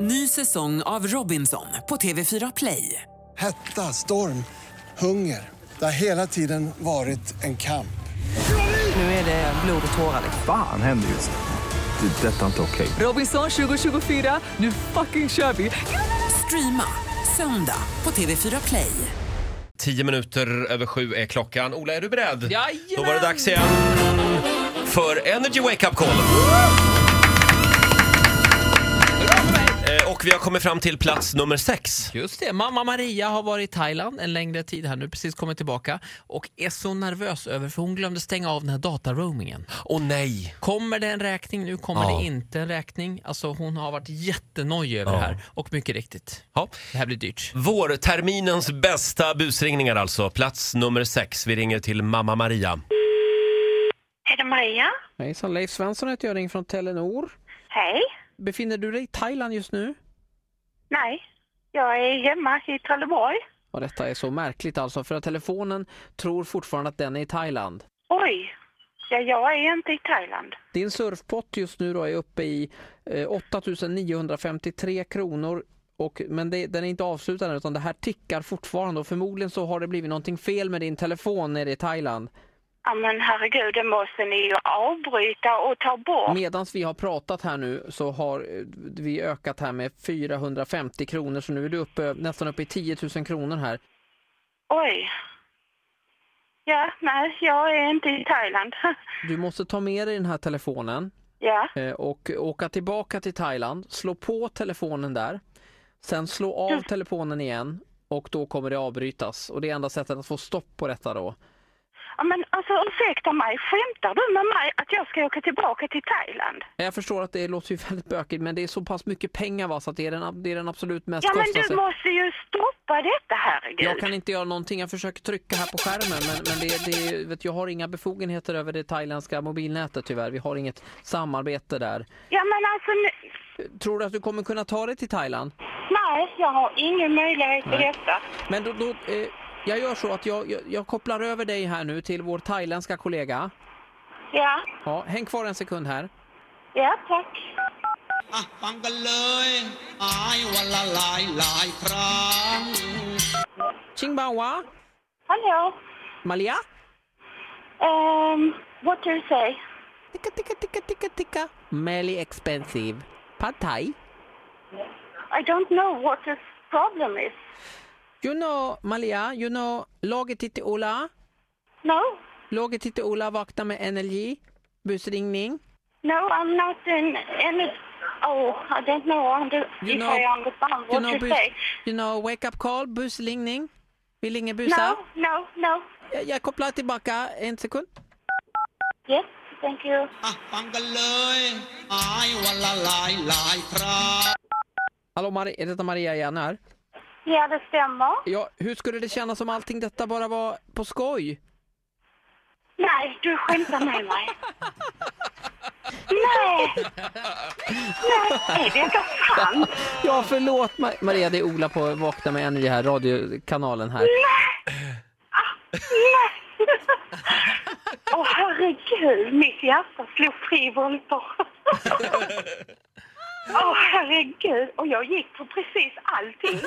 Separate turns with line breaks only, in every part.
Ny säsong av Robinson på TV4 Play.
Hetta, storm, hunger. Det har hela tiden varit en kamp.
Nu är det blod och tårar. liksom.
Fan händer just nu. Det. är Detta är inte okej.
Robinson 2024, nu fucking kör vi! Streama söndag på TV4 Play.
Tio minuter över sju är klockan. Ola, är du beredd?
Jajamän!
Då var det dags igen för Energy Wake Up Call. Eh, Och vi har kommit fram till plats nummer sex.
Just det. Mamma Maria har varit i Thailand en längre tid här nu, precis kommit tillbaka och är så nervös över för hon glömde stänga av den här dataroamingen.
Åh nej!
Kommer det en räkning nu? Kommer
Ja.
det inte en räkning? Alltså hon har varit jättenojig över det här och mycket riktigt.
Ja.
Det här blir dyrt.
Vårterminens bästa busringningar alltså. Plats nummer sex. Vi ringer till mamma Maria.
Är det Maria?
Hejsan, Leif Svensson heter jag, ringer från Telenor.
Hej.
Befinner du dig i Thailand just nu?
Nej, jag är hemma i Trelleborg.
Och detta är så märkligt alltså, för att telefonen tror fortfarande att den är i Thailand.
Oj, ja, jag är inte i Thailand.
Din surfpott just nu då är uppe i eh, 8953 kronor. Och, men det, den är inte avslutad än, utan det här tickar fortfarande och förmodligen så har det blivit någonting fel med din telefon nere i Thailand.
Ja, men herregud, det måste ni ju avbryta och ta bort.
Medan vi har pratat här nu så har eh, vi ökat här med 450 kronor så nu är du uppe, nästan uppe i 10 000 kronor här.
Oj. Ja, nej, jag är inte i Thailand.
Du måste ta med dig den här telefonen
Ja,
eh, och åka tillbaka till Thailand, slå på telefonen där, sen slå av telefonen igen och då kommer det avbrytas. Och det är enda sättet att få stopp på detta då.
Ja, men alltså ursäkta mig, skämtar du med mig att jag ska åka tillbaka till Thailand?
Jag förstår att det låter ju väldigt bökigt men det är så pass mycket pengar va så att det är den, det är den absolut mest
Ja, men du
kostnadseffektiva-
måste ju stoppa detta, herregud.
Jag kan inte göra någonting, jag försöker trycka här på skärmen men, men det, det, vet, jag har inga befogenheter över det thailändska mobilnätet tyvärr. Vi har inget samarbete där.
Ja, men alltså, nu-
Tror du att du kommer kunna ta dig till Thailand?
nej, jag har ingen möjlighet till detta.
Men då, då eh, jag gör så att jag, jag, jag kopplar över dig här nu till vår thailändska kollega.
Ja,
Ja, häng kvar en sekund här.
ja, tack.
อ่ะฟังกันเลยอายวันละหลายหลายครั้ง
Chingbawa,
Hallå?
Malia,
Um, what do you say?
ticka ticka ticka ticka ticka. Melly expensive. Pad thai.
I don't know what the problem is.
You know Malia, you know laget titti Ola.
No,
Laget titti Ola vakna med energi. Busringning.
no, I'm not in any. Oh, I don't know under,
You
if
know-
I understand
You
what
know,
you
bus,
say.
you know wake up call, busringning. Vill ingen busa?
No, no, no.
Jag, jag kopplar tillbaka en sekund.
Yes, thank you.
อ่ะฟังกันเลยอายวันละหลายหลายครั้ง
Hallå, Mari- är detta Maria igen här?
Ja, det stämmer.
Ja, hur skulle det kännas om allting detta bara var på skoj?
Nej, du skämtar med mig. Nej! Nej, är det inte sant?
Ja, förlåt Ma- Maria, det är Ola på Vakna med Energy här, radiokanalen här.
Ah, Nej! Åh, herregud, mitt hjärta slog tre volter. Åh, herregud. Och jag gick på precis allting.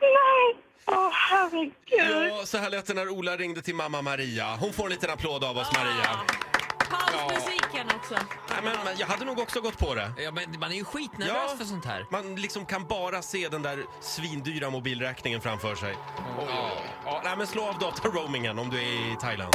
Nej! Åh, herregud.
Ja, så här lät det när Ola ringde till mamma Maria. Hon får en liten applåd av oss, Maria.
Ah, Pausmusiken också.
Nej, men, men jag hade nog också gått på det.
Ja, men man är ju skitnervös
Ja.
för sånt här.
Man liksom kan bara se den där svindyra mobilräkningen framför sig. Ja, ja, nej, men slå av dataroamingen om du är i Thailand.